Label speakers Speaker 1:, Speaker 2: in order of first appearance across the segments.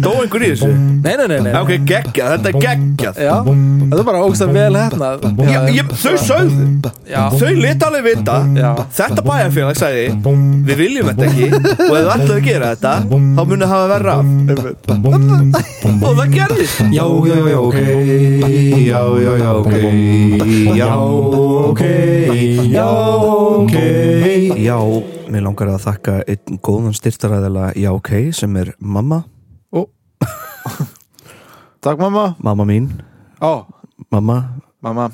Speaker 1: Dó einhver í þessu?
Speaker 2: Nei, nei, nei, nei
Speaker 1: Ok, geggjað, þetta er geggjað
Speaker 2: Já, þetta er bara ógst að vel hefna
Speaker 1: Já, ég, þau sögðu
Speaker 2: Já.
Speaker 1: Þau leta alveg vita
Speaker 2: Já.
Speaker 1: Þetta bæjarfélag sagði Við viljum þetta ekki Og ef þau ætlaðu að gera þetta Þá munið hafa verra af Og það gerðist
Speaker 3: Já, já, já, ok Já, já, já, ok Já, ok Já, ok
Speaker 1: Já, mér langar að þakka einn góðan styrtaræðala Já, ok, sem er mamma
Speaker 4: Takk mamma
Speaker 1: Mamma mín,
Speaker 4: Ó,
Speaker 1: mamma
Speaker 4: mamma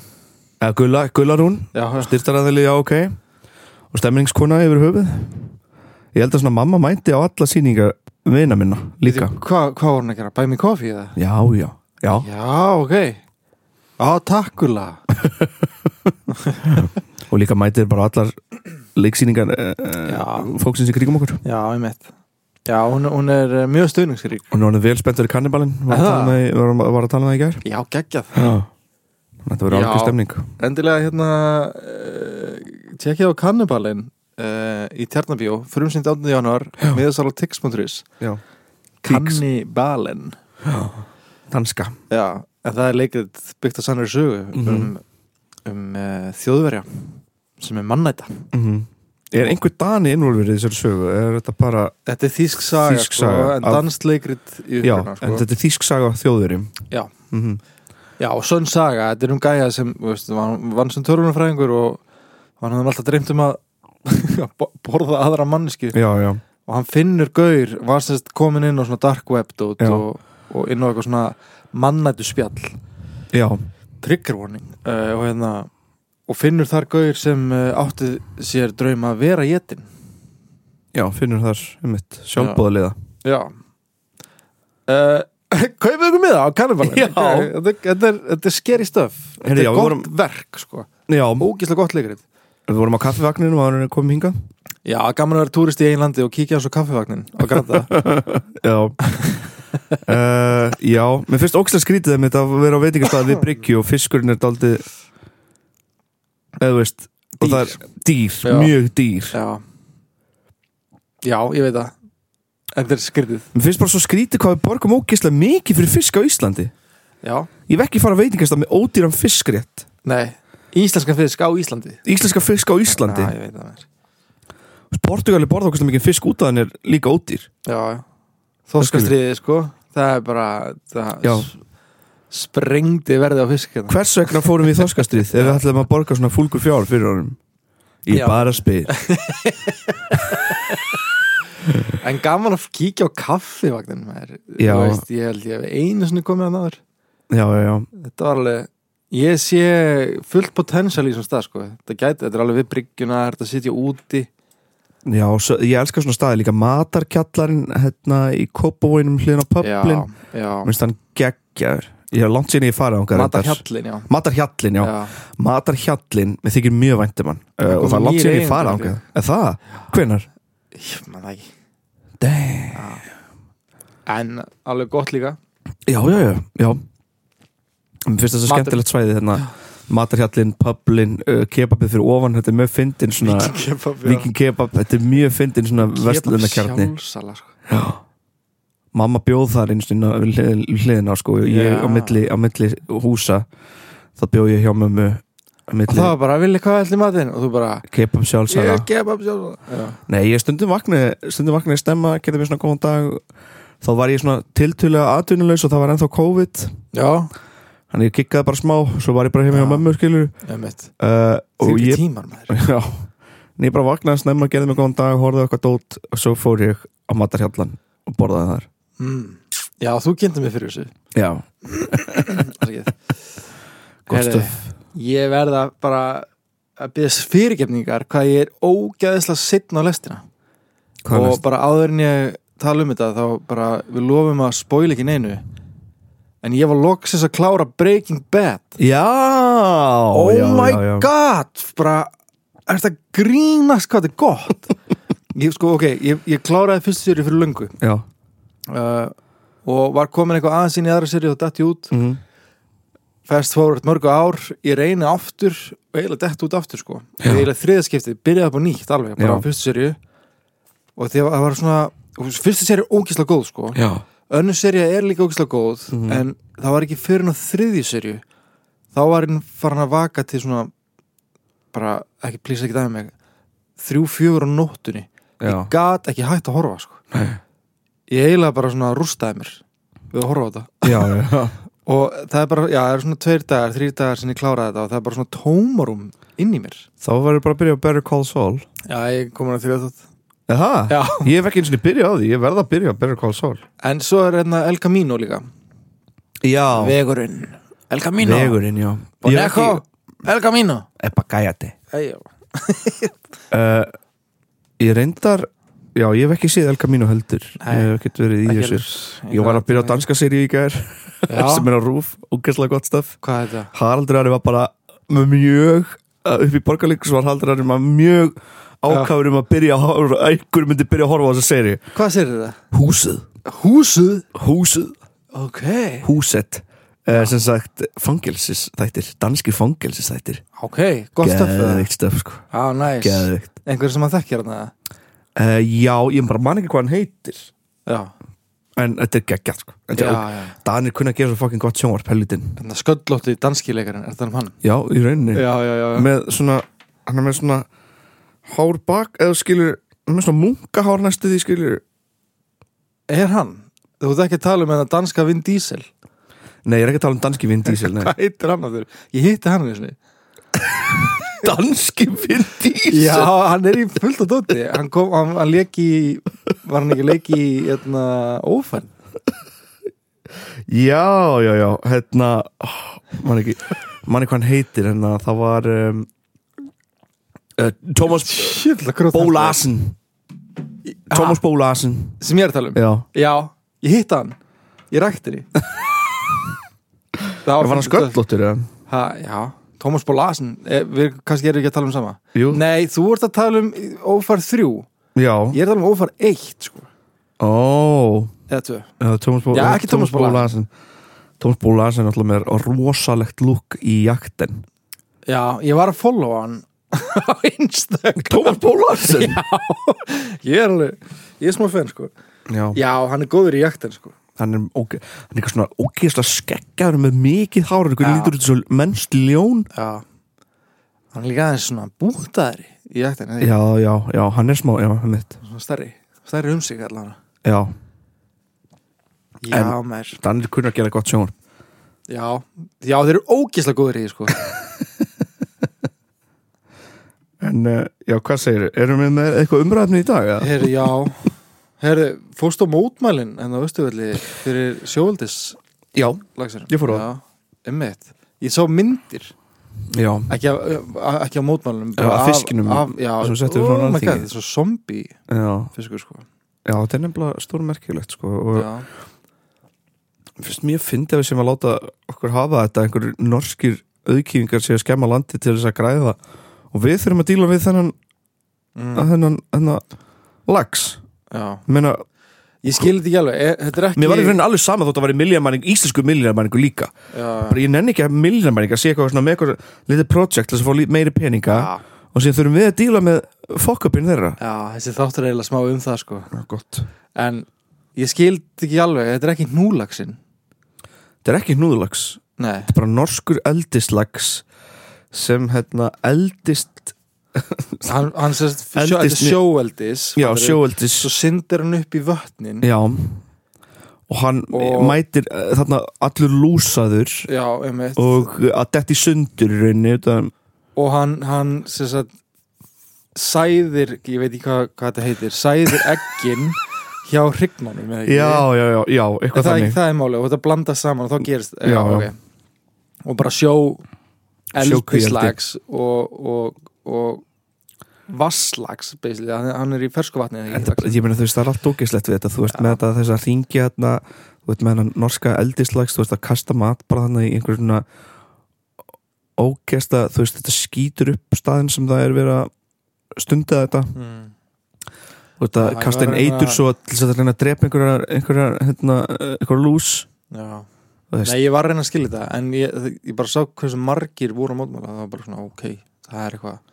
Speaker 1: Eða Gulla, Gullarún
Speaker 4: Já, já.
Speaker 1: Styrtaræðali, já, ok Og stemningskona yfir höfuð Ég held að svona mamma mænti á alla sýningar Vina minna líka
Speaker 4: Hva- Hvað var hún að gera? Buy me coffee eða?
Speaker 1: Já, já, já
Speaker 4: Já, ok Á, takkula
Speaker 1: Og líka mætir bara allar leiksýningar uh,
Speaker 4: Já,
Speaker 1: Fólksins í krigum okkur
Speaker 4: já, ég mitt Já, hún, hún er eh, mjög stöðningsrík
Speaker 1: Hún er orðin vel spenntur í kannibalinn var, að
Speaker 4: Er
Speaker 1: tala um það í- var, var að tala um það í gær
Speaker 4: Já, geggjað
Speaker 1: Þetta verður
Speaker 4: Já.
Speaker 1: algjör stemning
Speaker 4: Endilega hérna uh, Tjekkið á kannibalin uh, Í Tjarnabjó, frumsýnd 18. januar Miðasal á tix.is
Speaker 1: Já. Tix.
Speaker 4: Kannibalin
Speaker 1: Danska
Speaker 4: Já, en það er leikrið byggt á sannari sögu
Speaker 2: Mhm.
Speaker 4: um, um uh, þjóðverja sem er mannæta Mhm.
Speaker 1: Er einhver dani innvolverið í þessari sögu? Er þetta bara,
Speaker 4: Þetta er þýsk saga,
Speaker 1: Þýsk
Speaker 4: sko,
Speaker 1: saga
Speaker 4: en
Speaker 1: af-
Speaker 4: dansleikrit í
Speaker 1: já,
Speaker 4: uppruna,
Speaker 1: en
Speaker 4: sko.
Speaker 1: þetta er þýsk saga þjóðverjum
Speaker 4: Já.
Speaker 1: mm -hmm.
Speaker 4: Já, og sönn saga, þetta er um gæja sem þú veist, vann, vann sem törunafræðingur og hann hafði alltaf dreymt um að að bo- borða aðra manneski
Speaker 1: Já, já,
Speaker 4: og hann finnur gaur, var sérst komin inn á svona dark web dot
Speaker 1: Já.
Speaker 4: og, og inn á eitthvað svona mannættu spjall
Speaker 1: já,
Speaker 4: trigger warning uh, og, hérna, og finnur þar gaur sem uh, átti sér draum að vera jetin
Speaker 1: já, finnur þar um mitt sjálfbóðaliða
Speaker 4: Já uh, Kaupið ykkur miða á kannibalin
Speaker 1: Já.
Speaker 4: þetta, er- þetta, er- þetta er scary stuff Þetta
Speaker 1: Heyrðu,
Speaker 4: er
Speaker 1: já, við
Speaker 4: gott
Speaker 1: vorum-
Speaker 4: verk sko
Speaker 1: Já,
Speaker 4: Ógislega gott leikrið
Speaker 1: við vorum á kaffivagninum og hann er komið hinga
Speaker 4: Já, gaman að vera túrist í einlandi og kíkja á svo kaffivagnin á Granda
Speaker 1: Já uh, Já, mér finnst ókslega skrítið þeim þetta að vera á veitingastað við bryggju og fiskurinn er daldið eða þú veist og það er dýr,
Speaker 4: Já.
Speaker 1: mjög dýr
Speaker 4: Já Já, ég veit það Þetta er skrítið
Speaker 1: Mér finnst bara svo skrítið hvað við borgum ógeðslega mikið fyrir fisk á Íslandi
Speaker 4: Já,
Speaker 1: Ég vekki fara á veitingastað með ódýran fiskrétt
Speaker 4: nei Íslenska fisk á Íslandi
Speaker 1: Íslenska fisk á Íslandi
Speaker 4: Já, ég veit það mér
Speaker 1: Portugali borða okkur mikið fisk út af hann er líka ódýr
Speaker 4: Já, já Þorskastriðið, sko Það er bara það
Speaker 1: Já.
Speaker 4: s- Sprengdi verði á fisk hérna.
Speaker 1: Hvers vegna fórum við í þorskastrið ef við ætlum að borga svona fúlgur fjár fyrir honum Ég
Speaker 4: Já.
Speaker 1: bara spyr
Speaker 4: En gaman að kíkja á kaffivagnin maður.
Speaker 1: Já.
Speaker 4: Þú veist, Ég held ég hef einu sinni komið að náður
Speaker 1: Já, já, já,
Speaker 4: Þetta var alveg Ég sé fullt potential í þessum stað sko. Þetta gæti, þetta er alveg við bryggjuna Þetta sitja úti
Speaker 1: já svo, Ég elska svona staði líka matarkjallarinn hérna í Kópavóinum hliðin á pöblin
Speaker 4: Já, já
Speaker 1: Minnst hann geggjaður Ég hef langt síðan ég farið á hann
Speaker 4: Matarhjallin, já.
Speaker 1: Matarhjallin, já,
Speaker 4: já
Speaker 1: Matarhjallin, mér þykir mjög væntum hann uh,
Speaker 4: Það
Speaker 1: Og
Speaker 4: kom
Speaker 1: það er langt
Speaker 4: nýr
Speaker 1: síðan ég
Speaker 4: eigandi
Speaker 1: farið á
Speaker 4: líka.
Speaker 1: hann Er það? Hvenær?
Speaker 4: Ég man það ekki
Speaker 1: Damn.
Speaker 4: En alveg gott líka
Speaker 1: Já, já, já, já. Mér finnst þetta
Speaker 4: Matur-
Speaker 1: skemmtilegt svæði hérna. þarna Matarhjallin, publin, uh, kebabið fyrir ofan Þetta er mjög fyndin svona
Speaker 4: Kebab,
Speaker 1: Viking kebab, þetta er mjög fyndin svona verslunarkjarni
Speaker 4: Sjálfsala sko.
Speaker 1: Mamma bjóð þar einu sinni á- við hlið- við hliðina á sko Ég
Speaker 4: Já.
Speaker 1: á milli, á milli húsa Það bjóð ég hjá mömmu á
Speaker 4: Og það
Speaker 1: milli
Speaker 4: var bara, vilja hvað ætli matinn Og þú bara,
Speaker 1: kebab
Speaker 4: ég
Speaker 1: sjálfsara
Speaker 4: er kebab sjálfsala já.
Speaker 1: Nei, ég stundum vaknaði, stundum vaknaði stemma Gerði mér svona góðan dag Þá var ég svona tiltölulega atvinnulegs og það var ennþá COVID
Speaker 4: já,
Speaker 1: Þannig ég kikkaði bara smá, svo var ég bara heima hjá
Speaker 4: Já.
Speaker 1: mömmu skilur
Speaker 4: ég mitt
Speaker 1: uh, Og
Speaker 4: Þvílíkir
Speaker 1: ég
Speaker 4: tímar maður
Speaker 1: Já, en ég bara vaknaði snemma, gerði mig góðan dag, horfði á eitthvað dót og svo fór ég á matarhjallan og borðaði þar.
Speaker 4: mm. Já, þú kynnti mig fyrir þessu
Speaker 1: Já,
Speaker 4: Afsakið.
Speaker 1: gott
Speaker 4: Heyrðu,
Speaker 1: stöf.
Speaker 4: Ég verða bara að byrja fyrirgefningar hvað ég er ógæðislega sittn á lestina
Speaker 1: Hvað
Speaker 4: og
Speaker 1: næst?
Speaker 4: bara áður en ég tala um þetta þá bara við lofum að spoil ekki neinu en ég var loksins að klára Breaking Bad
Speaker 1: Já,
Speaker 4: Oh
Speaker 1: já,
Speaker 4: my
Speaker 1: já, já.
Speaker 4: god bara, er þetta grínast hvað þetta er gott ég, sko, ok, ég, ég kláraði fyrstu séri fyrir löngu
Speaker 1: Já,
Speaker 4: uh, og var komin eitthvað aðeins inn í aðra séri og dætti út
Speaker 1: mhm,
Speaker 4: fast forward mörgu ár ég reyni aftur og eiginlega dett út aftur sko
Speaker 1: Já.
Speaker 4: eiginlega þriðaskiptið, byrjaði upp á nýtt alveg bara
Speaker 1: Já.
Speaker 4: á fyrstu serju og því að það var svona, fyrstu serju er ógislega góð sko
Speaker 1: já,
Speaker 4: önnur serja er líka ógislega góð
Speaker 1: Mhm.
Speaker 4: en það var ekki fyrir hann á þriðju serju þá var hann farin að vaka til svona bara ekki plýsa ekki dæmi mig þrjú, fjögur á nóttunni
Speaker 1: já,
Speaker 4: ég gat ekki hægt að horfa sko.
Speaker 1: Nei.
Speaker 4: ég eiginlega bara svona rústaði mér við að horfa á þetta
Speaker 1: já, já.
Speaker 4: og það er bara, já, það er svona tveir dagar, þrýr dagar sem ég kláraði þetta og það er bara svona tómarum inn í mér
Speaker 1: Þá verður bara að byrja á Better Call Saul
Speaker 4: Já, ég komur að því að þetta
Speaker 1: Eða?
Speaker 4: Já.
Speaker 1: Ég hef ekki eins og byrja á því, ég verða að byrja á Better Call Saul
Speaker 4: En svo er hérna El Camino líka
Speaker 1: Já,
Speaker 4: Vegurinn El Camino
Speaker 1: vegurinn, já Ég hef
Speaker 4: Boneco El Camino
Speaker 1: ekki- Ebba gæjati
Speaker 4: Æjá
Speaker 1: uh, Ég reyndar Já, ég hef ekki séð Elka mínu heldur
Speaker 4: Nei.
Speaker 1: Ég hef ekkert verið í þessu Ég var að byrja á danska séri í gær sem
Speaker 4: Já,
Speaker 1: er á rúf, ógæslega gott staf
Speaker 4: hvað er þetta?
Speaker 1: Haraldur Ari var bara með mjög uh, upp í borgarleikus var Haraldur Ari var mjög ákafur um að byrja að horfa, að einhver myndi byrja að horfa á þessa séri
Speaker 4: Hvað sér þetta?
Speaker 1: Húsið,
Speaker 4: Húsuð
Speaker 1: húsið,
Speaker 4: Ok
Speaker 1: húset uh, sem sagt fangelsis þættir, danski fangelsis þættir
Speaker 4: Ok, gott stöfn
Speaker 1: Geðveikt stöf sko,
Speaker 4: Já, næs
Speaker 1: geðveikt
Speaker 4: Einhver sem að þekkja hérna
Speaker 1: uh, Já, ég bara man ekki hvað hann heitir
Speaker 4: Já,
Speaker 1: en þetta er geggjart sko
Speaker 4: já,
Speaker 1: Þetta er-
Speaker 4: já
Speaker 1: Danir kunna að gera svo fucking gott sjónvarp helvitinn
Speaker 4: Þannig að sköllótti danski leikarinn, er það um hann?
Speaker 1: Já, í rauninni
Speaker 4: Já, já, já
Speaker 1: með svona, hann er með svona hár bak, eða skilur hann er með svona munkahár næstu því skilur
Speaker 4: Er hann? Þú ert ekki að tala um þetta danska Vin Diesel
Speaker 1: Nei, ég er ekki að tala um danski Vin Diesel nei.
Speaker 4: Hvað heitir hann að þér? Ég hitti hann eins og
Speaker 1: Danski Vin Diesel?
Speaker 4: Já, hann er í fullt og dóti Hann kom, hann, hann leki Var hann ekki leki í hérna, ófæn?
Speaker 1: Já, já, já, hérna oh, mann ekki, mann ekki hvað hann heitir hérna, það var um, uh, Thomas
Speaker 4: Sjöldla grót
Speaker 1: Bólasen Thomas Bólasen
Speaker 4: Sem ég er að tala um
Speaker 1: Já,
Speaker 4: Já, ég hitti hann Ég rækti henni Það
Speaker 1: það var hann sköllóttur eða?
Speaker 4: ha, Já, Tómas Bólasen e, Við kannski erum ekki að tala um sama
Speaker 1: Jú,
Speaker 4: Nei, þú ert að tala um ófær þrjú
Speaker 1: já,
Speaker 4: Ég er að tala um ófær eitt sko.
Speaker 1: ó
Speaker 4: Eða tvö
Speaker 1: Já, Thomas Bo
Speaker 4: Já, ekki Thomas Bo
Speaker 1: Larsen Thomas Bo Larsen er náttúrulega með rosalegt lúk í jakten
Speaker 4: Já, ég var að followa hann Á Instagram
Speaker 1: Thomas Bo Larsen?
Speaker 4: Ég er alveg, ég er smá fenn sko
Speaker 1: Já,
Speaker 4: Já, hann er góður í jaktin sko
Speaker 1: hann er, óge, hann er eitthvað svona ógeðslega skeggjaður með mikið hár hann
Speaker 4: Já.
Speaker 1: lítur út svo mennst ljón
Speaker 4: Já Hann er líka aðeins svona bútaðari í jaktin eða ekki?
Speaker 1: Já, já, já, hann er smá, já, hann mitt
Speaker 4: Svona stærri, stærri um sig allan
Speaker 1: Já,
Speaker 4: Já,
Speaker 1: En-
Speaker 4: maður
Speaker 1: hann er kunn að gera gott sjón
Speaker 4: Já, já þeir eru ógislega góður í því, sko
Speaker 1: En, uh, já, hvað segir, erum við með eitthvað umræðni í dag? Ja?
Speaker 4: Herri, já Herri, fórst á mótmælin en á Östuvelli fyrir sjóvöldis
Speaker 1: Já,
Speaker 4: lagsirum
Speaker 1: Ég fór á það.
Speaker 4: Já, emmitt Ég sá myndir,
Speaker 1: já,
Speaker 4: ekki af, af- ekki af mótmælunum
Speaker 1: Já,
Speaker 4: bara
Speaker 1: af fiskinum
Speaker 4: af, Já,
Speaker 1: sem settur
Speaker 4: oh
Speaker 1: frá
Speaker 4: my
Speaker 1: Alþingi.
Speaker 4: god, þetta er svo zombi
Speaker 1: já,
Speaker 4: fiskur, sko
Speaker 1: já, þetta er nefnilega stórmerkilegt sko og
Speaker 4: Já,
Speaker 1: finnst mjög fyndið að við sem að láta okkur hafa þetta einhver norskir auðkýfingar sé að skemma landi til þess að græða og við þurfum að díla við þennan
Speaker 4: mm,
Speaker 1: mm. þennan, þennan lags
Speaker 4: já.
Speaker 1: Meina,
Speaker 4: Ég skil þetta ekki alveg, e, þetta er ekki
Speaker 1: mér var í raunin alveg sama þótt að vera miljarmæning, íslensku miljarmæningu líka
Speaker 4: Já,
Speaker 1: bara ég nenni ekki að miljarmæning að sé eitthvað svona með eitthvað litið project til þess að fá lí- meiri peninga
Speaker 4: já.
Speaker 1: og síðan þurfum við að díla með fokkupin þeirra
Speaker 4: Já, þessi þáttur er eiginlega smá um það sko
Speaker 1: Já, gott.
Speaker 4: En ég skildi ekki alveg, þetta er ekki núlagsinn
Speaker 1: þetta er ekki hnúðulags
Speaker 4: Nei,
Speaker 1: þetta er bara norskur eldislags sem hérna eldist
Speaker 4: hann, hann sérst
Speaker 1: Eldist
Speaker 4: sjó, þetta er
Speaker 1: né-
Speaker 4: sjóeldis
Speaker 1: já,
Speaker 4: fattarðu?
Speaker 1: sjóeldis
Speaker 4: Svo syndir hann upp í vötnin
Speaker 1: Já Og hann
Speaker 4: Og-
Speaker 1: mætir eh, þarna allur lúsaður
Speaker 4: Já, einmitt Og,
Speaker 1: og eh, að detti sundur í rauninni utan,
Speaker 4: hann, hann sérst sæðir, ég veit ekki hvað, hvað þetta heitir Sæðir egginn hjá hrygnanum eða ekki?
Speaker 1: Já, já, já, já,
Speaker 4: En
Speaker 1: eitthvað
Speaker 4: það, er-
Speaker 1: þannig
Speaker 4: það er málið og þetta blandast saman og þá gerist
Speaker 1: Já, já.
Speaker 4: ok. og bara sjó
Speaker 1: Sjókvíaeldi.
Speaker 4: eldislags og, og, og vasslags basically, hann, hann er í fersku vatni eða ekki,
Speaker 1: Þetta,
Speaker 4: lax?
Speaker 1: ég meina þú veist það er allt ógeislegt við þetta þú veist
Speaker 4: Já.
Speaker 1: með þetta þess að ringja þarna þú veist með hennan norska eldislags þú veist að kasta mat bara þannig í einhverjum svona ógeisla þú veist þetta skýtur upp staðin sem það er verið að stunda þetta
Speaker 4: mm.
Speaker 1: þú veist að
Speaker 4: Já, ég
Speaker 1: kasta
Speaker 4: var
Speaker 1: inn
Speaker 4: að reyna-
Speaker 1: eitur svo til þess að reyna að drepa einhverjar einhverjar hérna, einhverjar lús
Speaker 4: já.
Speaker 1: Þú veist.
Speaker 4: Nei, ég var að reyna að skilja þetta en ég, ég bara sá hversu margir voru að mótmála það var bara svona, ok, það er eitthvað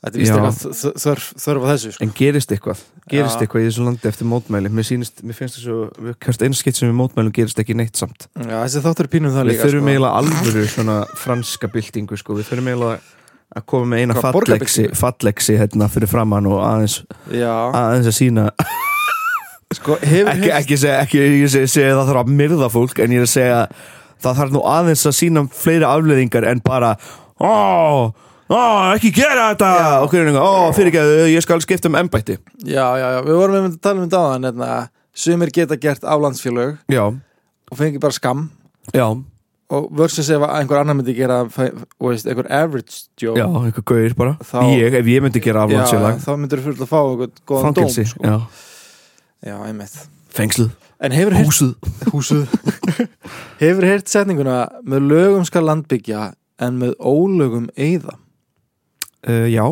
Speaker 4: Þetta er vist
Speaker 1: Já.
Speaker 4: eitthvað þ- þ- þörf, þörf að þessu sko.
Speaker 1: En gerist eitthvað, gerist
Speaker 4: Já.
Speaker 1: eitthvað í þessu landi eftir mótmæli Mér, sýnist, mér finnst þessu, við- hvert einskitt sem við mótmælum gerist ekki neitt samt
Speaker 4: Já, þessi þáttur er pínum það
Speaker 1: Við
Speaker 4: líka sko.
Speaker 1: þurfum eiginlega alvöru svona franska byltingu sko. Við þurfum eiginlega að koma með eina
Speaker 4: Hvað,
Speaker 1: fallegsi,
Speaker 4: borgarbyltingu?
Speaker 1: fallegsi hérna fyrir framann og aðeins,
Speaker 4: Já,
Speaker 1: aðeins að sína
Speaker 4: sko, hefur
Speaker 1: ekki, ekki, segja, ekki ég segi, segi það þarf að myrða fólk en ég er að segja það þarf nú aðeins að sína fleiri afleðingar en bara ó, ó, ekki gera þetta
Speaker 4: Já.
Speaker 1: og hvernig, ó, fyrirgeðu, ég skal skipta um embætti
Speaker 4: Já, já, já, við vorum einmitt að tala um þetta áðan hérna, sumir geta gert aflandsfélög
Speaker 1: já,
Speaker 4: og fengi bara skam
Speaker 1: já,
Speaker 4: og versus ef einhver annar myndi gera fæ- og veist, einhver average joke
Speaker 1: já, einhver gauðir bara
Speaker 4: Þá-
Speaker 1: ég, ef ég myndi gera
Speaker 4: já
Speaker 1: aflandsfélag
Speaker 4: þá myndir þú fyrir að fá einhvern góðan dóm
Speaker 1: fangelsi,
Speaker 4: sko.
Speaker 1: já,
Speaker 4: já, einmitt
Speaker 1: fengsluð,
Speaker 4: En hefur heyrt
Speaker 1: húsuð
Speaker 4: húsuð Hefur heyrt setninguna með lögum skal landbyggja en með ólögum eyða
Speaker 1: uh, já,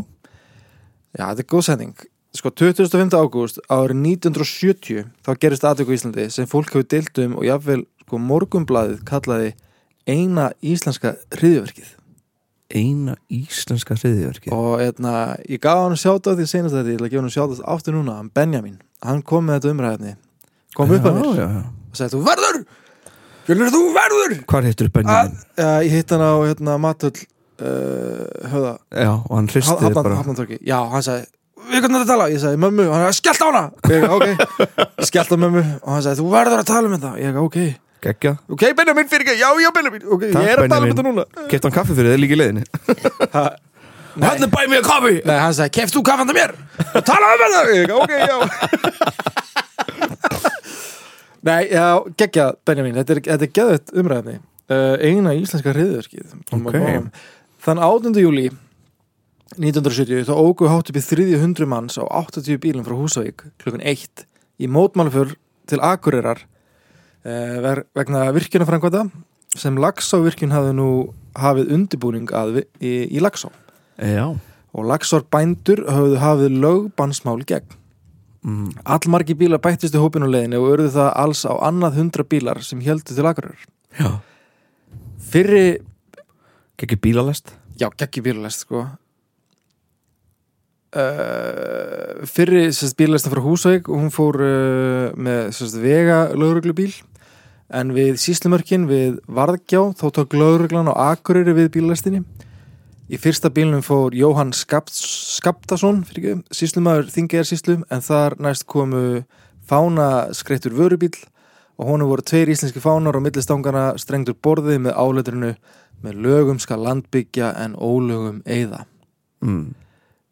Speaker 4: Já, þetta er góð setning Sko, 25. ágúst árið 1970 þá gerist aðtöku í Íslandi sem fólk hefur deilt um og jafnvel sko, morgumblaðið kallaði eina íslenska hriðjöverkið
Speaker 1: eina íslenska hriðiverki
Speaker 4: og etna, ég gaf hann sjátt á því senast þetta, ég ætla að gefa hann sjátt á því aftur núna hann Benjamin, hann kom með þetta umræðinni kom upp að mér
Speaker 1: já, já.
Speaker 4: og sagði þú verður Fjölnir þú verður
Speaker 1: hvar hittur
Speaker 4: að,
Speaker 1: Benjamin?
Speaker 4: að, ég hitt hann á hérna, matöll uh, höfða
Speaker 1: já, og hann hristi
Speaker 4: hafnand,
Speaker 1: bara
Speaker 4: hafnandorki, já, hann sagði við hvernig þetta tala, ég sagði mömmu, hann sagði skellt á hana ég, ok, skellt á mömmu og hann sagði þú verður að tala um þetta, ég ok
Speaker 1: geggja,
Speaker 4: ok, Benjamin fyrir ekki, já, já, Benjamin ok,
Speaker 1: Takk,
Speaker 4: ég er að tala um
Speaker 1: Benjamin.
Speaker 4: þetta núna
Speaker 1: kefti hann kaffi fyrir þið líka í leiðinni
Speaker 4: ha,
Speaker 1: hann er bæmið að kaffi
Speaker 4: nei, hann sagði, keft þú kaffanda mér og tala um þetta, ég ok, já nei, já, geggja Benjamin, þetta er, þetta er geðvett umræðni uh, eina íslenska hriðverkið
Speaker 1: Ok.
Speaker 4: þann 8. júli 1970 þá ógu hátt upp í 300 manns á 80 bílum frá Húsavík klukkan 1 í mótmálfur til Akureyrar eh, ver- vegna virkjunafrangvata sem Laxá virkjun hafði nú hafið undibúning að vi- í, í Laxá
Speaker 1: já,
Speaker 4: og Laxár bændur hafðu hafið lögbannsmál gegn.
Speaker 1: mm.
Speaker 4: Allmargi bílar bættist í hópinu leiðinni og urðu það alls á annað hundra bílar sem heldu til Akureyrar.
Speaker 1: já
Speaker 4: Fyrri,
Speaker 1: Gekki bílalest
Speaker 4: já, geggi bílalest sko. Uh, fyrri sérst, bílalesta frá Húsavík og hún fór uh, með sérst, vega lögreglubíl en við síslumörkin við Varðgjá þá tók lögreglan á Akureyri við bílalestinni í fyrsta bílnum fór Jóhann Skapt, Skaptason fyrir ekki, síslumæður Þingeyjar síslum en þar næst komu fána skreittur vörubíl og honum voru tveir íslenski fánar og millistangana strengdur borðið með áleiturinu með lögum skal landbyggja en ólögum eyða.
Speaker 1: mm.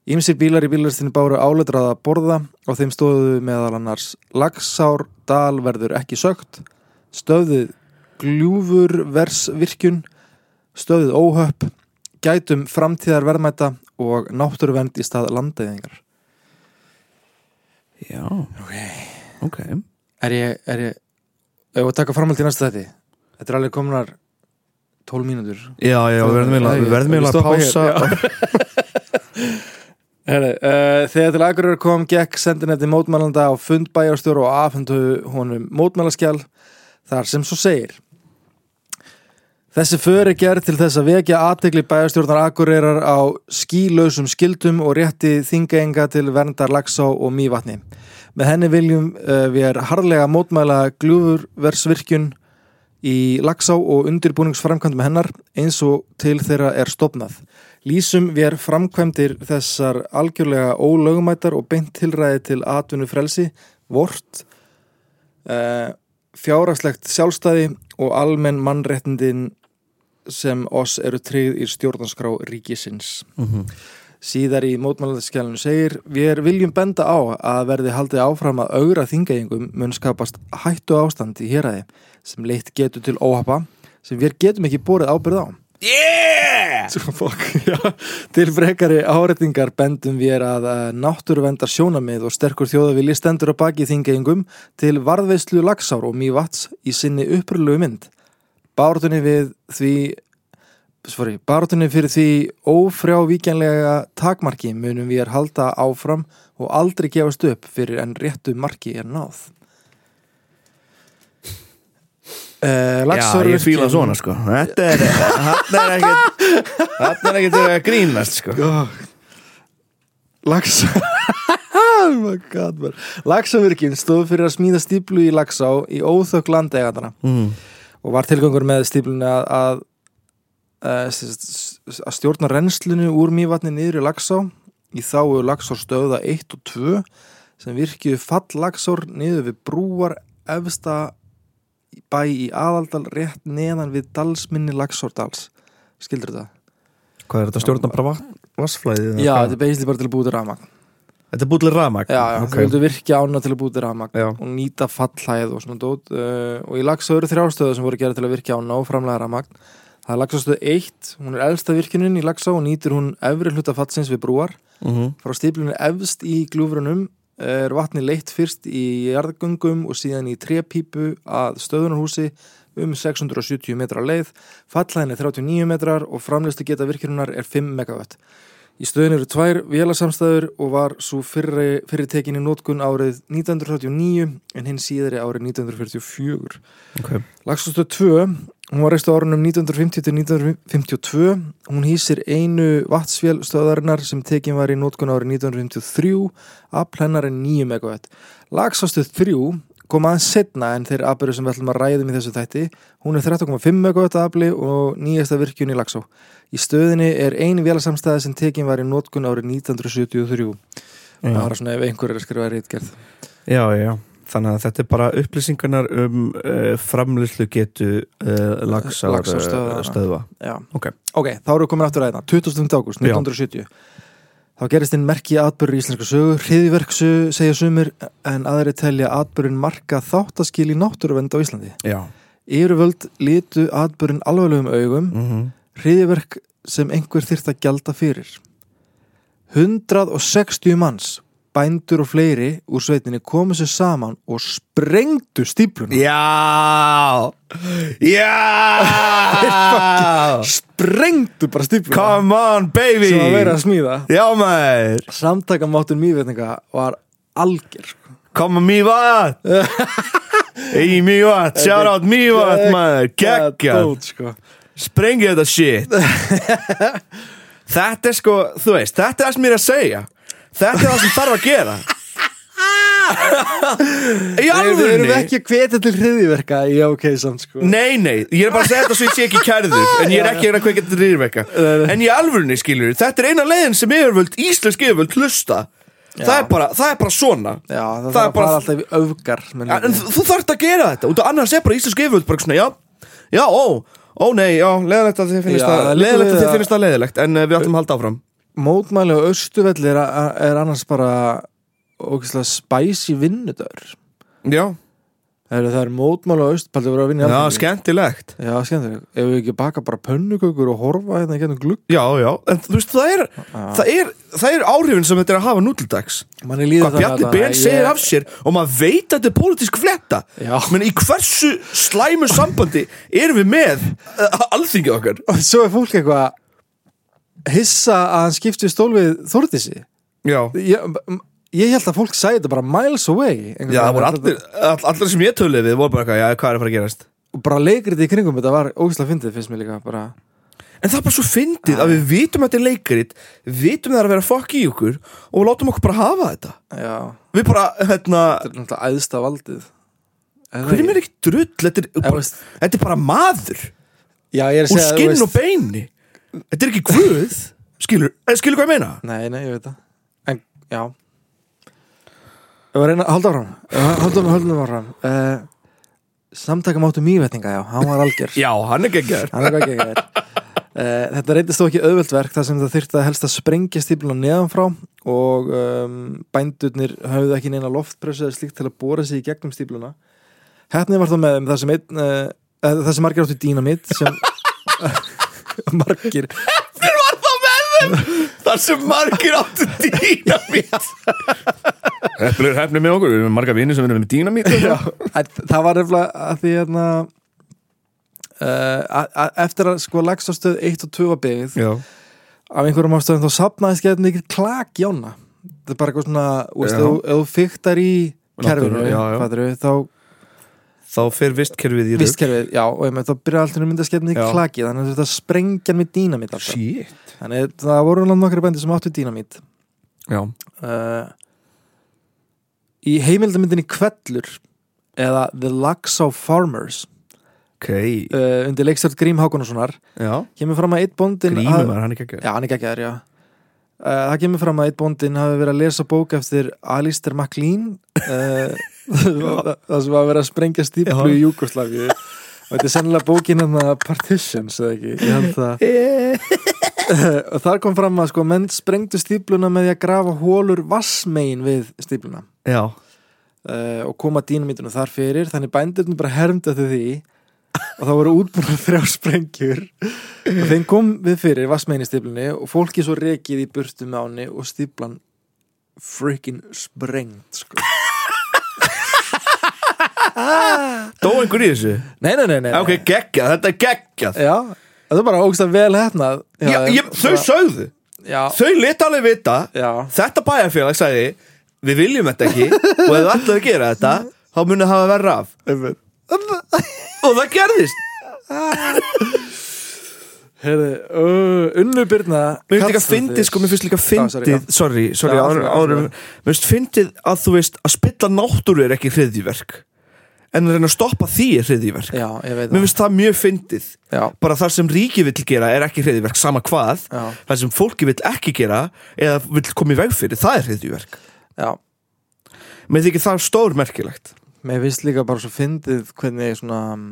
Speaker 4: Ímsir bílar í bílarstinu báru áleitraða borða og þeim stóðu meðal annars lagsár, dal verður ekki sögt, stöðið gljúfurversvirkjun, stöðið óhöpp, gætum framtíðar verðmæta og náttúruvernd í stað landeyðingar.
Speaker 1: Já Ok, okay.
Speaker 4: Er ég, er ég, ef við taka framhald í næsta þetta, þetta er alveg kominar 12 mínútur.
Speaker 1: Já, já, við verðum eiginlega- við verðum eiginlega að
Speaker 4: Stoppa hér,
Speaker 1: pása
Speaker 4: Herri, uh, þegar til Akureyrar kom gekk sendinetti mótmælanda á fund bæjarstjóru og afhendu honum mótmælaskjál þar sem svo segir Þessi för er gerð til þess að vekja aðtegli bæjarstjórnar Akureyrar á skílausum skildum og rétti þingaenga til verndar lagsá og mývatni. Með henni viljum uh, við er harðlega mótmæla gljúfurversvirkjun í lagsá og undirbúningsframkvæmdum hennar eins og til þeirra er stopnað. Lýsum við er framkvæmdir þessar algjörlega ólögumætar og beint tilræði til atvinnu frelsi, vort, uh, fjáragslegt sjálfstæði og almenn mannréttindin sem oss eru tryggð í stjórnanskrá ríkisins.
Speaker 1: Mhm.
Speaker 4: Síðar í mótmælandaskjælinu segir Við viljum benda á að verði haldið áfram að augra þingæðingum mun skapast hættu ástand í héræði sem leitt getur til óhappa sem við getum ekki borið ábyrð á
Speaker 1: Yeah
Speaker 4: Svo fokk, já. Til frekari áreitingar bendum við að eh, náttúruvendar sjónamið og sterkur þjóðavili stendur að baki þingeyingum til varðveislu lagsár og mývats í sinni upprölu mynd. Bártunni við því sorry, bártunni fyrir því ófrjávíkjanlega takmarki munum við halda áfram og aldrei gefast upp fyrir en réttu marki er náð. uh,
Speaker 1: Já, ég fíla svona sko Þetta er, hann er ekkert Hann er ekkert verið að grínast sko
Speaker 4: Laxa oh my God, man. Laxavirkin stóð fyrir að smíða stíplu í Laxá í óþökk landegandana
Speaker 1: mm.
Speaker 4: og var tilgangur með stíplunni að, að, eh, sem sagt, að stjórna rennslunu úr mývatni niður í Laxá í þáu Laxár stöða 1 og 2 sem virkjuðu fall Laxár niður við brúar efsta bæ í aðaldal rétt neðan við dalsminni Laxárdals skildur þetta?
Speaker 3: Hvað er þetta stjórna bara vatn, vassflæði?
Speaker 4: Já, þetta er beislið bara til að búið rafmagn
Speaker 3: Þetta er búinlega rafmagn
Speaker 4: Já, já,
Speaker 3: ok.
Speaker 4: okay. vildu virkja ána til að búti rafmagn
Speaker 3: Já.
Speaker 4: og nýta fallhæð og svona dót uh, og í Laxá eru þrjástöðu sem voru gerð til að virkja ána og framlega rafmagn Það er Laxástöð 1, hún er elsta virkinunin í Laxá og nýtir hún efri hluta fallsins við brúar
Speaker 1: Mhm.
Speaker 4: Frá stíplunni efst í glúfrunum er vatni leitt fyrst í jarðgöngum og síðan í trépípu að stöðunarhúsi um 670 metra leið, fallhæðin er 39 metrar og framleiðstu geta virkinunar er 5 megawatt. Í stöðun eru tvær vélasamstæður og var svo fyrri, fyrri tekinni nótkun árið 1939 en hinn síðari árið 1944.
Speaker 3: Ok.
Speaker 4: Lagstóttöð 2, hún var reist á árunum 1950 til 1952, hún hýsir einu vatnsvél stöðarinnar sem tekin var í nótkun árið 1953, afl hennar er 9 megawatt. Lagstóttöð 3 kom aðeins setna en þeir afbyrðu sem við ætlum að ræðum í þessu þætti, hún er 13,5 megawatt afli og nýjasta virkjun í Lagsó. Í stöðinni er ein vélasamstæða sem tekin var í nótkun árið 1973. Það var svona ef einhver er að skrifa reitgerð.
Speaker 3: já, já, já Þannig að þetta er bara upplýsingarnar um uh,
Speaker 1: eh,
Speaker 3: framlýslu getu uh,
Speaker 4: Eh,
Speaker 3: lagsar,
Speaker 4: Laxárstöðva.
Speaker 3: uh, stöðva
Speaker 4: Já.
Speaker 3: Ok.
Speaker 4: þá erum við komin aftur að hérna. þetta 25. ágúst 1970 Þá gerist einn merki atbyrður í íslensku sögu hriðiverksu segja sumir en aðri telja atbyrðin marka þáttaskil í náttúruvend á Íslandi
Speaker 1: Já
Speaker 4: Yfirvöld litu atbyrðin alveglegum augum
Speaker 1: mm
Speaker 4: hriðiverk sem einhver þyrft að gjalda fyrir 160 manns bændur og fleiri úr sveitinni komu sér saman og sprengdu stípluna
Speaker 1: Já Já
Speaker 4: sprengdu bara stípluna
Speaker 1: Come on baby
Speaker 4: sem að vera að smíða
Speaker 1: Já maður
Speaker 4: samtakamáttun mývetninga var algjör sko.
Speaker 1: Koma Mývat Í Mývat, shout out Mývat maður Gekka
Speaker 4: dót, sko.
Speaker 1: Sprengi þetta shit Þetta er sko, þú veist Þetta er það sem ég er að segja Þetta er það sem þarf að gera Í
Speaker 4: Nei, við erum
Speaker 1: alvörni
Speaker 4: ekki að hvetja til hriðiverka í OK samt sko.
Speaker 1: Nei, nei, ég er bara að segja þetta svo ég sé ekki kærður En ég er ekki að reyna að kveika þetta rýrvekka En í alvörni skilur, þetta er eina leiðin sem yfirvöld, íslensk yfirvöld, hlusta það er, bara, það er bara svona
Speaker 4: Já, það,
Speaker 1: Það er
Speaker 4: það
Speaker 1: bara-
Speaker 4: bara alltaf í öfgar menn,
Speaker 1: ja, En þú- þú þarft að gera þetta Út af annars er bara íslensk yfirvöld bara svona, já, já, ó, ó nei, já, leðilegt að þið finnist
Speaker 4: Já,
Speaker 1: það
Speaker 4: það liggur
Speaker 1: Leðilegt að
Speaker 4: við
Speaker 1: þið
Speaker 4: að-
Speaker 1: finnist það leðilegt En uh, við ætlum að halda áfram
Speaker 4: mótmæli á austuvelli er, a- er annars bara ógeðslega spæsi vinnudagur
Speaker 1: Já,
Speaker 4: Heru, það er mótmæli á austuvelli að vera að vinna í
Speaker 1: já,
Speaker 4: Alþingi.
Speaker 1: skemmtilegt
Speaker 4: Já, skemmtileg Ef við ekki baka bara pönnukökur og horfa hérna gennum glugg
Speaker 1: Já, já, en þú veist, það er, það er, það er áhrifin sem þetta er að hafa nútildags
Speaker 4: Manni líður
Speaker 1: Hvað
Speaker 4: þannig að
Speaker 1: Bjarni
Speaker 4: það-
Speaker 1: Ben
Speaker 4: ég-
Speaker 1: segir af sér og maður veit að þetta er pólitísk fletta
Speaker 4: Já.
Speaker 1: menn í hversu slæmu sambandi erum við með uh, alþingi okkar
Speaker 4: Og svo er fólk eitthvað hissa að hann skipti stól við Þórdísi
Speaker 1: Já,
Speaker 4: ég, m- ég held að fólk sagði þetta bara miles away einhvern
Speaker 1: já það
Speaker 4: veginn.
Speaker 1: voru allir, all, allir sem ég töluði við voru bara eitthvað, já, hvað er að fara að gerast
Speaker 4: og bara leikrið í kringum þetta var ógislega fyndið finnst mér líka bara
Speaker 1: En það er bara svo fyndið að við vitum að þetta er leikrit við vitum það er að vera fokk í okkur og við látum okkur bara hafa þetta
Speaker 4: já
Speaker 1: Við bara, hérna,
Speaker 4: þetta er náttúrulega æðsta valdið
Speaker 1: hverjum er ekki drull þetta er, bara,
Speaker 4: veist-
Speaker 1: þetta er bara maður
Speaker 4: já ég er að
Speaker 1: úr
Speaker 4: segja
Speaker 1: skinn og beini Þetta er ekki guð Skilur, eh, skilur hvað ég meina?
Speaker 4: nei nei ég veit það en já ég var að reyna halda áfram Eh, halda áfram halda áfram uh, samtaka máttu mývetninga já hann var algjör
Speaker 1: Já, hann er geggjör
Speaker 4: hann er hvað ekki er Uh, þetta reyndist þó ekki auðveld verk þar sem það þyrfti að helst að sprengja stípluna neðanfrá og um, bændurnir höfðu ekki neina loftpressu eða slíkt til að bóra sig í gegnum stípluna Hefnið var þá með þeim þar sem, einn, uh, eh, þar sem margir áttu dýnamitt sem margir
Speaker 1: Hver var það með þeim? Þar sem margir áttu dýnamít Eppil er hefnið með okkur Við erum marga vinni sem erum með dýnamít
Speaker 4: Æ, Það var nefnilega að því hérna uh, að- að- eftir að sko lagstastöð 1 og 2 var byggð
Speaker 1: Já,
Speaker 4: af einhverjum ástöðum þá sapnaðist ekki mikil klak í ána það er bara eitthvað svona úst,
Speaker 1: Já.
Speaker 4: ef, þú- ef þú fyktar í
Speaker 1: Náttúrulega,
Speaker 4: kerfinu
Speaker 1: já, já.
Speaker 4: fattarðu, þá
Speaker 1: þá fer vistkerfið í rugg
Speaker 4: vistkerfið, já, og ég með þá byrja alltaf myndaskeppni í
Speaker 1: Já.
Speaker 4: klaki, þannig að þetta sprengja með dínamít alltaf,
Speaker 1: shit
Speaker 4: þannig að það voru náttúrulega nokkri bændi sem áttu dínamít
Speaker 1: já,
Speaker 4: uh, í heimildamindinni Kvellur eða The Laxo Farmers
Speaker 1: ok,
Speaker 4: uh, undir leikstjórn Grím Hákonarssonar
Speaker 1: já Ah.
Speaker 4: kemur fram að eitt bóndin
Speaker 1: grímum er hann ekki ekki
Speaker 4: Já, hann er geggjaður, já Uh, það kemur fram að eitt bóndin hafi verið að lesa bók eftir Alistair MacLean uh, það sem var verið að sprengja stíplu í Júkoslavíu og þetta er sennilega bókin hann að Partitions eða ekki, ég held það Eh, og þar kom fram að sko menn sprengdu stípluna með því að grafa hólur vassmegin við stípluna
Speaker 1: já,
Speaker 4: uh, og koma dínamítunum þar fyrir þannig bændurinn bara hermdi eftir því og það voru útbúinlega þrjá sprengjur og þeim kom við fyrir vassmeginni stíplunni og fólki svo rekið í burtu með áni og stíplan freaking sprengt sko.
Speaker 1: dó einhver í þessu
Speaker 4: nei, nei, nei, nei, nei.
Speaker 1: ok, geggjað, þetta er geggjað
Speaker 4: já, það er bara ógst að vel hefnað
Speaker 1: já, ég, þau sögðu,
Speaker 4: já,
Speaker 1: þau lit alveg vita
Speaker 4: já,
Speaker 1: þetta bæjarfélag sagði við viljum þetta ekki og ef það ætlaði að gera þetta þá munið hafa verra af
Speaker 4: einmitt
Speaker 1: og það gerðist
Speaker 4: Herði, uh, unnu byrna
Speaker 1: Mér finnst líka fyndið, sko, mér finnst líka
Speaker 4: Já, Ah, sorry, já.
Speaker 1: fyndið Sorry, sorry,
Speaker 4: Já,
Speaker 1: áður
Speaker 4: sorry,
Speaker 1: áður-
Speaker 4: sorry.
Speaker 1: Mér finnst fyndið að þú veist að spilla náttúru er ekki hriðjiverk en að reyna að stoppa því er hriðjiverk
Speaker 4: Já, ég veit
Speaker 1: Mér finnst það mjög fyndið
Speaker 4: það Já,
Speaker 1: bara þar sem ríki vill gera er ekki hriðjiverk sama hvað,
Speaker 4: já,
Speaker 1: þar sem fólki vill ekki gera eða vill koma í veg fyrir, það er hriðjiverk
Speaker 4: já
Speaker 1: Mér þykir það stórmerkilegt
Speaker 4: Mér finnst líka bara svo fyndið hvernig svona um,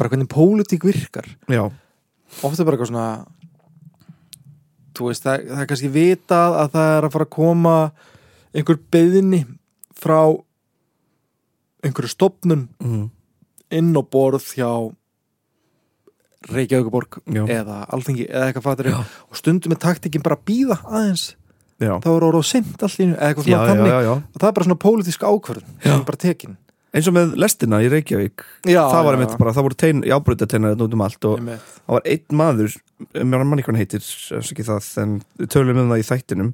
Speaker 4: bara hvernig pólitík virkar
Speaker 1: Já,
Speaker 4: ofta bara eitthvað svona þú veist, það, það er kannski vitað að það er að fara að koma einhver beðinni frá einhverju stopnun
Speaker 1: mm.
Speaker 4: inn á borð hjá Reykjavíkuborg
Speaker 1: Já.
Speaker 4: eða Alþingi eða eitthvað fattur
Speaker 1: Já.
Speaker 4: og stundum er taktikinn bara að býða aðeins
Speaker 1: já.
Speaker 4: þá er orðið seint allt í einu eða
Speaker 1: já,
Speaker 4: eitthvað svona
Speaker 1: já,
Speaker 4: þannig
Speaker 1: já, já
Speaker 4: og það er bara svona pólitísk ákvörðun sem er bara tekin
Speaker 1: Eins og með lestina í Reykjavík
Speaker 4: já,
Speaker 1: Það var
Speaker 4: já,
Speaker 1: einmitt bara, það voru tein, jábrutateina út um allt og
Speaker 4: einmitt.
Speaker 1: það var einn maður mér mann eitthvað hann heitir, ekki það en við tölum um það í þættinum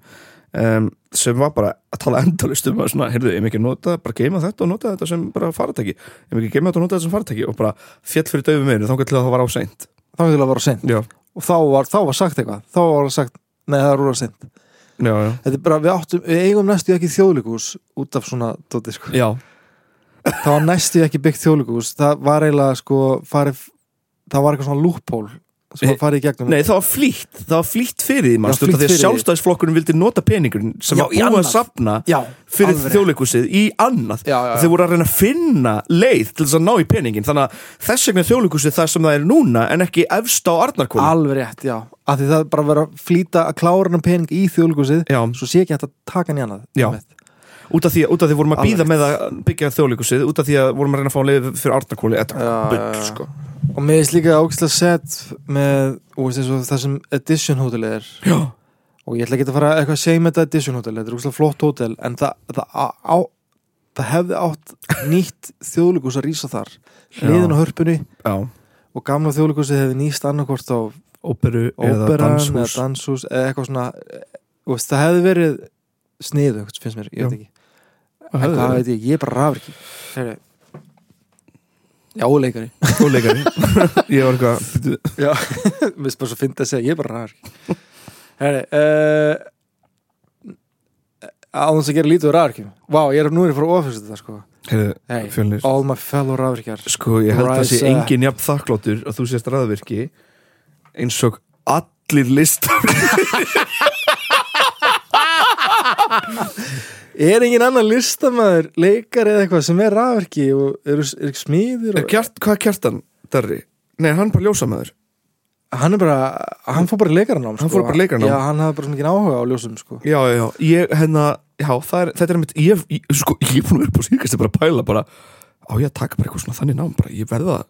Speaker 1: um, sem var bara að tala endalust um að svona, heyrðu, ég mikið nota, bara geima þetta og nota þetta sem bara faratæki, ég mikið geima þetta og nota þetta sem faratæki og bara fjall fyrir döfum meðinu þá til að það var á seint
Speaker 4: þá hefði það var seint
Speaker 1: já,
Speaker 4: og þá var, þá var sagt eitthvað þá var sagt, nei það er úr seint
Speaker 1: já, já,
Speaker 4: þetta er bara, við, áttum, við eigum næstu ekki þjóðlíkús út af svona dóti sko
Speaker 1: já.
Speaker 4: það var næstu ekki byggt þjóðlíkús það var eiginlega sko farið það var eitthvað svona loophole sem var farið í gegnum
Speaker 1: Eh, Nei, það var flýtt, það var flýtt fyrir því manstu,
Speaker 4: flýtt
Speaker 1: því að
Speaker 4: fyrir því.
Speaker 1: sjálfstæðisflokkurinn vildi nota peningurinn sem
Speaker 4: Já,
Speaker 1: var
Speaker 4: í
Speaker 1: búið að
Speaker 4: annað.
Speaker 1: sapna
Speaker 4: já,
Speaker 1: fyrir
Speaker 4: alveg rétt.
Speaker 1: þjóðleikusið í annað
Speaker 4: já, já,
Speaker 1: og
Speaker 4: já.
Speaker 1: þeir voru að reyna að finna leið til þess að ná í peningin þannig að þess vegna er þjóðleikusið það sem það er núna en ekki efst á Arnarkóla
Speaker 4: alveg rétt, já af því það er bara verið að flýta að klára hennar pening í þjóðlíkúsið
Speaker 1: Já.
Speaker 4: svo sé ekki hægt að taka hann í annað
Speaker 1: Eh. Já.
Speaker 4: einmitt.
Speaker 1: út af því, út af því vorum að
Speaker 4: Alveg
Speaker 1: býða
Speaker 4: rétt.
Speaker 1: með að byggja þjóðleikusið út af því að vorum að reyna að fá leið fyrir Arnarkóli þetta
Speaker 4: Já,
Speaker 1: er
Speaker 4: já, já.
Speaker 1: bull sko
Speaker 4: og mér finnst líka ógæslega sett með, og veist þessu, það sem Edition Hotel er
Speaker 1: Já,
Speaker 4: og ég ætla ekki að fara eitthvað að segja með þetta Edition Hotel, þetta er úrslega flott hótel en það, það, á, á, það hefði átt nýtt þjóðlíkus að rýsa þar hliðin á hörpunni
Speaker 1: já,
Speaker 4: og gamla þjóðlíkusið hefði nýst annarkvort á
Speaker 1: óperu eða
Speaker 4: óperan eða
Speaker 1: danshús
Speaker 4: danshús eða eitthvað svona eh, þú veist, það hefði verið sniðugt, finnst mér, ég veit ekki
Speaker 1: Það
Speaker 4: en
Speaker 1: hefði
Speaker 4: hvað
Speaker 1: verið.
Speaker 4: veit ég, ég bara rafur ekki Heri. já, leikari
Speaker 1: Þú leikari. Ég var eitthvað "Bíddu,
Speaker 4: Já, mér finnst bara svo fyndið að segja, ég er bara rar Herri, uh, án þess að gera lítið úr rarkjum Vá, ég er nú er ég fór að ofhjóðs þetta sko
Speaker 1: heyrðu,
Speaker 4: hey,
Speaker 1: Fjölnir
Speaker 4: All my fellow rarkjar
Speaker 1: Sko, ég held að sé
Speaker 4: Rise, uh,
Speaker 1: engin jafn þakkláttur að þú sést ræðvirki eins og allir listar
Speaker 4: Er engin annan listamæður, leikar eða eitthvað sem er rarkji og eru er ekki smíðir
Speaker 1: Er
Speaker 4: og,
Speaker 1: Eh, Kjart, hvað er kjartan, Darri? Nei, hann er bara ljósamæður
Speaker 4: Hann er bara, hann fór bara leikarnám sko.
Speaker 1: Hann fór bara leikaranám.
Speaker 4: Já, hann hafði bara svona ekki áhuga á ljósum sko
Speaker 1: Já, já, já, ég, hérna, já, það er, þetta er einmitt Ég, ég sko, ég er búin að vera upp á síðkast bara að pæla bara Á ég að taka bara eitthvað svona þannig nám bara Ég verða,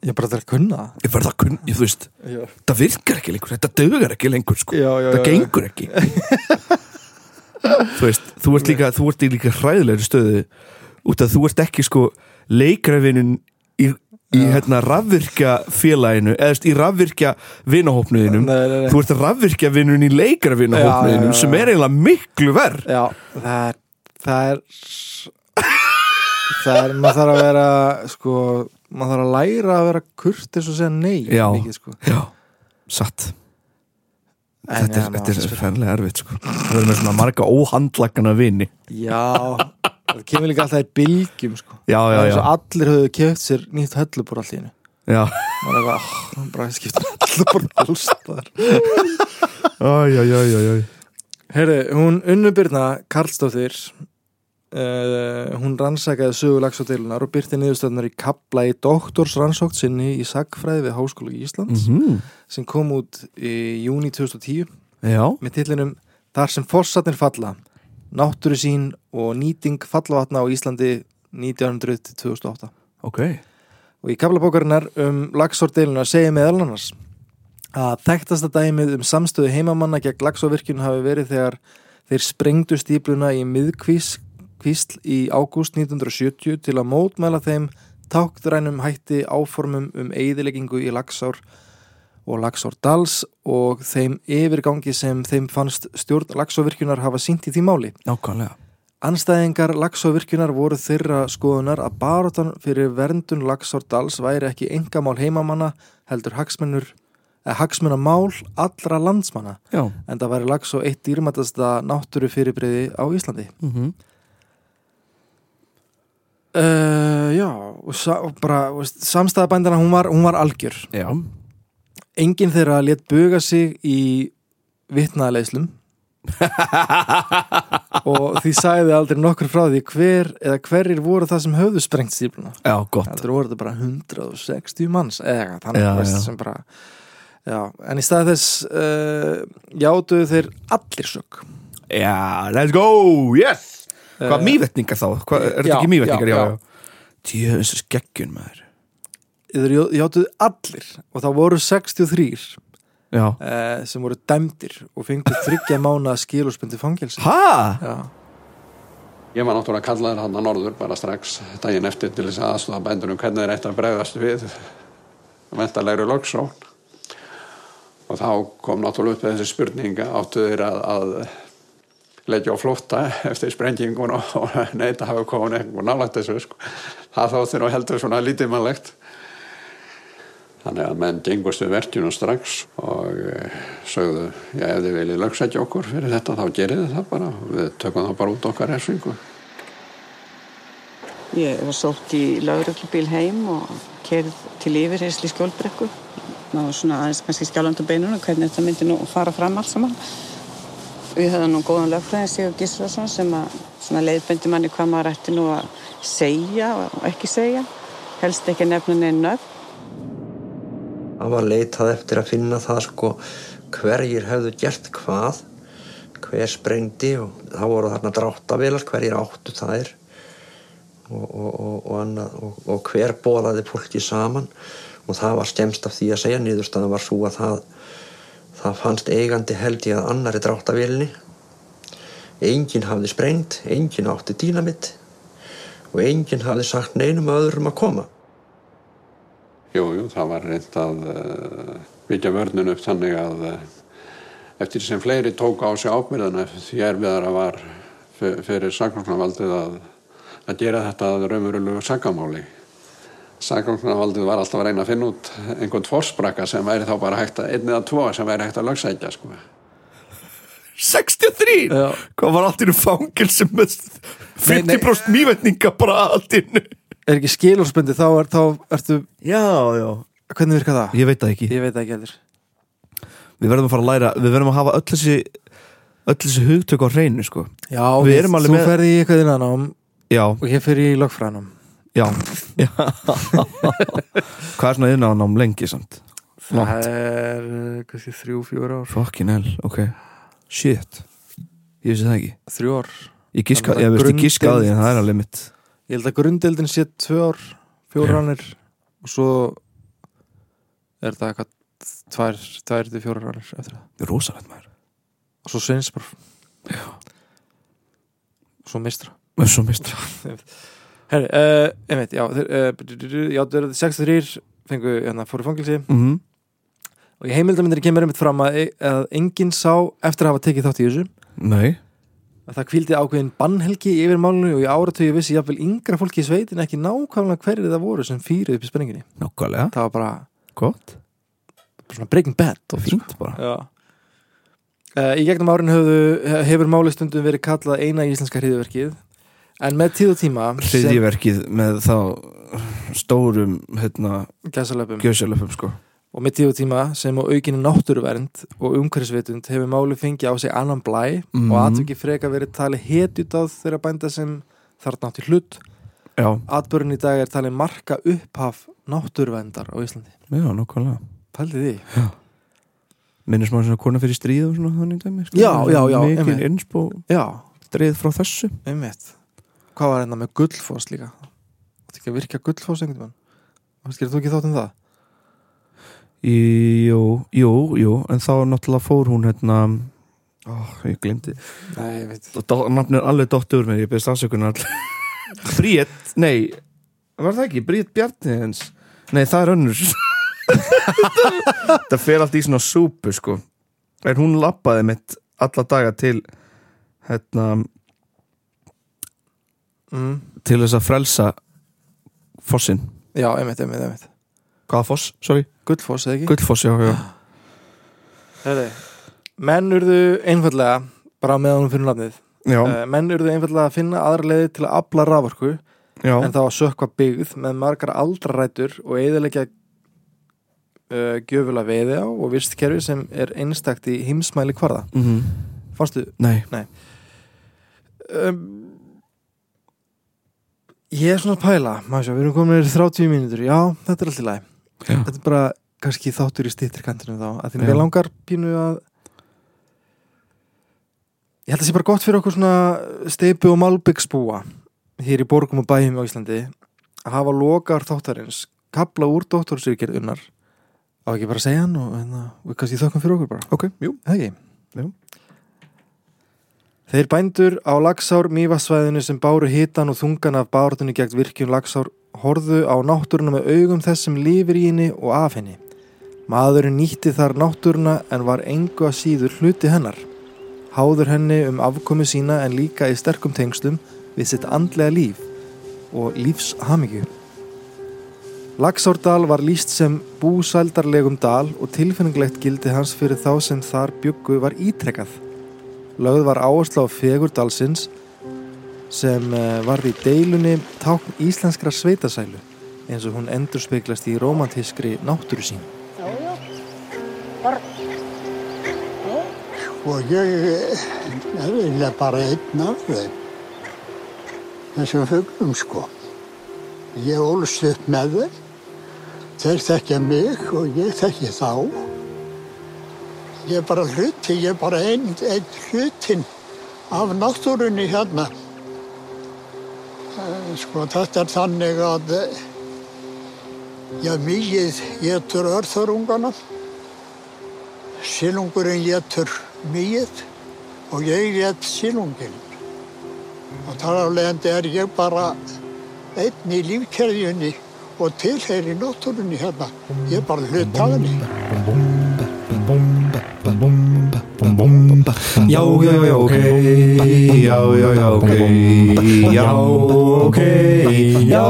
Speaker 4: Ég er bara þarf að kunna það.
Speaker 1: ég verða að kunn, ég þú veist
Speaker 4: Já,
Speaker 1: Það virkar ekki lengur, þetta dögar ekki lengur, sko
Speaker 4: já, já
Speaker 1: Það gengur ekki Þú veist, þú ert líka, þú ert í líka hræðilegri stöðu Út að þú ert ekki, sko, leikræfinun í, í hérna, rafvirkja félaginu Eða, þú veist, í rafvirkja vinahópnuðinum
Speaker 4: Nei, nei, nei
Speaker 1: þú ert rafvirkjavinnun í
Speaker 4: Já, já,
Speaker 1: leikaravinnahóknuðinum
Speaker 4: já, já.
Speaker 1: sem er eiginlega miklu verð
Speaker 4: Já, það er það er það er, maður þarf að vera sko, maður þarf að læra að vera kurtis og segja nei
Speaker 1: Já.
Speaker 4: mikið, sko.
Speaker 1: já, satt
Speaker 4: En
Speaker 1: þetta
Speaker 4: já,
Speaker 1: er,
Speaker 4: ná,
Speaker 1: þetta
Speaker 4: spyr-
Speaker 1: er fennlega erfitt sko. það verður með svona marga óhandlagana vini
Speaker 4: já, það kemur líka alltaf í bylgjum sko.
Speaker 1: já, já,
Speaker 4: Það er
Speaker 1: já,
Speaker 4: eins og allir höfðu keft sér nýtt höllubor allt í hennu
Speaker 1: já.
Speaker 4: maður er eitthvað, "Ah, hann bara skipta höllubor alls þar
Speaker 1: Æ, æ, æ, æ, æ.
Speaker 4: Herri, hún unnubyrna Karlsdóttir Uh, hún rannsakaði sögu lagsóteilunar og byrti niðurstöðnar í kapla í doktorsrannsókt sinni í sagfræði við Háskóla Íslands
Speaker 1: Mhm.
Speaker 4: sem kom út í júni 2010
Speaker 1: já,
Speaker 4: með tillinum Þar sem fossatnir falla Náttúru sín og nýting fallavatna á Íslandi 1900-2008
Speaker 1: ok
Speaker 4: og í kaplabókarinnar um lagsórdeiluna segir meðal annars að þekktasta dæmið um samstöðu heimamanna gegn lagsóvirkjun hafi verið þegar þeir sprengdu stípluna í miðkvísl í ágúst 1970 til að mótmæla þeim táktrænum hætti áformum um eyðileggingu í lagsár og lagsárdals og þeim yfirgangi sem þeim fannst stjórn lagsóvirkjunar hafa sínt í því máli.
Speaker 1: nákvæmlega
Speaker 4: Anstæðingar laxóvirkjunar voru þeirra skoðunar að baróttan fyrir verndun laxórdals væri ekki engamál heimamanna heldur hagsmunur eða hagsmunamál allra landsmanna
Speaker 1: já,
Speaker 4: en það væri laxó eitt dýrmættasta náttúru fyrirbreyði á Íslandi.
Speaker 1: mm
Speaker 4: Uh, já, og, sa og bara þú veist, samstæðabændana hún var, hún var algjör.
Speaker 1: já.
Speaker 4: Engin þeirra let buga sig í vitnaðaleyslum og því sagði aldrei nokkur frá því hver eða hverjir voru það sem höfðu sprengt stípluna.
Speaker 1: já, gott
Speaker 4: heldur voru þetta bara 160 manns eða eitthvað, þannig
Speaker 1: Já,
Speaker 4: veist
Speaker 1: já.
Speaker 4: sem bara já, en í stað þess uh, játuðu þeir allir sök
Speaker 1: já, let's go, yes
Speaker 4: Eh,
Speaker 1: hvað mývetningar þá, hvað, er
Speaker 4: já,
Speaker 1: þetta ekki mývetningar já,
Speaker 4: já, já.
Speaker 1: já, djöðs skeggjun maður
Speaker 4: þeir já- játuðu allir og það voru 63
Speaker 1: já,
Speaker 4: uh, sem voru dæmdir og fengu þryggja mána skilurspyndi fangelsi
Speaker 1: hæ?
Speaker 4: já,
Speaker 5: Ég var náttúrulega kallaður hann að norður bara strax daginn eftir til þess að aðstofa bændur um hvernig þeir ætti að bregðast við vendalegri loksón. Og þá kom náttúrulega upp þessi spurning áttu þeir að, að leggja á flótta eftir sprengingun og, og neita hafa komin eitthvað nálægt þessu. Sko. Það þótti nú heldur svona lítið mannlegt. Þannig að menn gengust við verkjunum strax og eh, sögðu, já ef þið viljið lögsækja okkur fyrir þetta þá gerið þið það bara, við tökum það bara út okkar erfingu.
Speaker 6: Ég var sótt í lauröglubíl heim og kerð til yfirheysli skjólbrekku. Það var svona aðeins kannski skjálfandi beinunum hvernig þetta myndi nú fara fram allt saman. Við höfðum nú góðan lögfræðin Sigur Gíslason sem að svona leiðbendi manni hvað maður ætti nú að segja og ekki segja. Helst ekki að nefna neinn nöfn.
Speaker 7: Það var leitað eftir að finna það sko hverjir hefðu gert hvað, hver sprengdi og það voru þarna dráttavélar, hverjir áttu þær og, og, og, og, annað, og, og hver bólaði fólki saman og það var skemmst af því að segja niðurstaðan var svo að það, það fannst eigandi held í að annari dráttavélinni. Engin hafði sprengt, engin átti dýnamitt og engin hafði sagt neinum öðrum að koma.
Speaker 5: Jú, jú, það var reynd að uh, byggja vörnun upp þannig að uh, eftir sem fleiri tók á sig ábyrðana því erfiðara var fyr- fyrir saknáknarvaldið að, að gera þetta að raumurulegu sakamáli. Saknáknarvaldið var alltaf að reyna að finna út einhvern fórsprakka sem væri þá bara hægt að, einn eða tvo sem væri hægt að lögsækja, sko.
Speaker 1: 63
Speaker 4: Já.
Speaker 1: hvað var allt í einu fangilsi með
Speaker 4: Nei, nei.
Speaker 1: 50% mývetninga bara allt í einu
Speaker 4: er ekki skilurspyndi þá, er, þá ertu
Speaker 1: já, já,
Speaker 4: hvernig virka það?
Speaker 1: ég veit það ekki
Speaker 4: Ég veit það ekki heldur
Speaker 1: við verðum að fara að læra, við verðum að hafa öll þessi öll þessi hugtök á hreinu sko.
Speaker 4: Já,
Speaker 1: Við erum alveg
Speaker 4: þú
Speaker 1: með-
Speaker 4: ferði í eitthvað innanám
Speaker 1: já,
Speaker 4: og ég fer í lögfræðinám
Speaker 1: já, já. hvað er svona yðnaðanám lengi samt
Speaker 4: Það er eh, kannski þrjú, fjúr ár
Speaker 1: fucking hell, ok shit, ég vissi það ekki
Speaker 4: Þrjú ár
Speaker 1: ég giska,
Speaker 4: Það er
Speaker 1: ég veist ég
Speaker 4: grunndeild.
Speaker 1: giska að því en það er alveg mitt
Speaker 4: Ég held að grundeldin sé tvö ár, fjóra
Speaker 1: Já.
Speaker 4: rannir og svo er það eitthvað tvær, tvær til fjóra rannir eftir það.
Speaker 1: rosalegt maður,
Speaker 4: Og svo sveinsbarf. Já. Svo mistra.
Speaker 1: maður er svo mistra
Speaker 4: Herri, uh, einmitt, já, þeir, uh, já, þeir eru 63 fengu, hérna, fóru í fangilsi
Speaker 1: mm
Speaker 4: og e, í heimildamindinni kemur einmitt fram að, að enginn sá eftir að hafa tekið þátt í þessu
Speaker 1: nei,
Speaker 4: að það kvíldi ákveðin bannhelgi yfir málunni og í áratöyu vissi jafnvel yngra fólki í sveitin ekki nákvæmlega hverju það voru sem fyrir upp í spenninginni
Speaker 1: Nákvæmlega,
Speaker 4: það var bara,
Speaker 1: gott
Speaker 4: bara svona breaking bad og
Speaker 1: Fínt bara
Speaker 4: Já. Eh, Í gegnum árin höfðu, hefur málistundum verið kallað eina íslenska hriðverkið en með tíð og tíma
Speaker 1: Hriðjiverkið með þá stórum, hérna,
Speaker 4: sem, gæsalöpum,
Speaker 1: gjössalöfum sko
Speaker 4: og með tíð og tíma sem á aukinni náttúruvernd og umhverfisvitund hefur máli fengið á sig annan blæ
Speaker 1: Mhm.
Speaker 4: og atviki freka verið talið hetjut á þeirra bænda sem þarna átti hlut
Speaker 1: Já,
Speaker 4: atbörun í dag er talið marka upphaf náttúruverndar á Íslandi
Speaker 1: já, nákvæmlega
Speaker 4: Pældi því?
Speaker 1: Minnir smá svona kona fyrir stríð og svona þannig dæmi sko.
Speaker 4: Já, já, já,
Speaker 1: Mikið
Speaker 4: einmitt.
Speaker 1: innspó
Speaker 4: Já,
Speaker 1: dreigð frá þessu
Speaker 4: einmitt Hvað var hérna með gullfoss líka? Þetta ekki að virka gullfoss einhvern veginn Skilir þú ekki þátt um það?
Speaker 1: Í- Jú, jú, jú En þá náttúrulega fór hún hérna Ó, ég glemdi
Speaker 4: Nei, ég veit
Speaker 1: Nafnið er alveg dottur mér, ég byrst afsökunar Bríett, nei Var það ekki, Bríett Bjarni hans Nei, það er önnur Það fer allt í svona súpu sko En hún lappaði mitt alla daga til hérna,
Speaker 4: mm.
Speaker 1: til þess að frelsa fossin
Speaker 4: Já, einmitt, einmitt, einmitt
Speaker 1: Hvaða foss, sorry?
Speaker 4: Gullfoss eða ekki?
Speaker 1: Gullfoss, já, já
Speaker 4: Herri, menn urðu einfallega bara á meðan hún finnur nafnið
Speaker 1: Já,
Speaker 4: uh, menn urðu einfallega að finna aðra leiði til að afla raforku
Speaker 1: já,
Speaker 4: en þá að sökva byggð með margar aldrarætur og eðilegja uh, gjöfulega veiði á og vistkerfi sem er einstakt í heimsmæli kvarða
Speaker 1: mhm.
Speaker 4: Fannstu
Speaker 1: Nei,
Speaker 4: um, Ég er svona að pæla maður sjá, við erum komin í 30 mínútur Já, þetta er alltaf læg
Speaker 1: Já.
Speaker 4: Þetta er bara kannski þáttur í stýttir kantinum þá að því
Speaker 1: Já.
Speaker 4: mér langar pínu að Ég held að sé bara gott fyrir okkur svona steipu og malbyggsbúa hér í borgum og bæjum á Íslandi að hafa lokar þáttarins kapla úr dóttorsýrgerðunar á ekki bara að segja hann og, hérna, og kannski þökkum fyrir okkur bara
Speaker 1: ok, jú
Speaker 4: Er Það ekki?
Speaker 1: Jú.
Speaker 4: Þeir bændur á Laxár mývassvæðinu sem báru hitan og þungan af bártunni gegn virkjun Laxár horðu á náttúruna með augum þess sem lifir í henni og af henni. Maðurinn nýtti þar náttúruna en var engu að síður hluti hennar. Háður henni um afkomi sína en líka í sterkum tengslum við sitt andlega líf og lífshamingju. Laxárdal var líst sem búsældarlegum dal og tilfinninglegt gildi hans fyrir þá sem þar byggu var ítrekkað. Lögð var áherslu á fegur dalsins sem eh, varð í deilunni tákn íslenskra sveitasælu eins og hún endur speglast í romantískri náttúru sín.
Speaker 8: Og ég er eiginlega bara einn af þeim, þessum fuglum sko. Ég ólst upp með þeim, þeir þekkja mig og ég þekki þá. Ég er bara hluti, ég er bara einn ein hlutin af náttúrunni hérna. Eh, Sko þetta er þannig að eh, já, mýið getur örþörungana Silungurinn getur mýið og ég get silunginn. Og þar af leiðandi er ég bara einn í lífkerðjunni og tilheyri náttúrunni hérna. Ég er bara hlut af henni.
Speaker 3: Já, já, já, ok Já, já, já, ok Já, ok Já,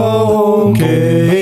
Speaker 3: ok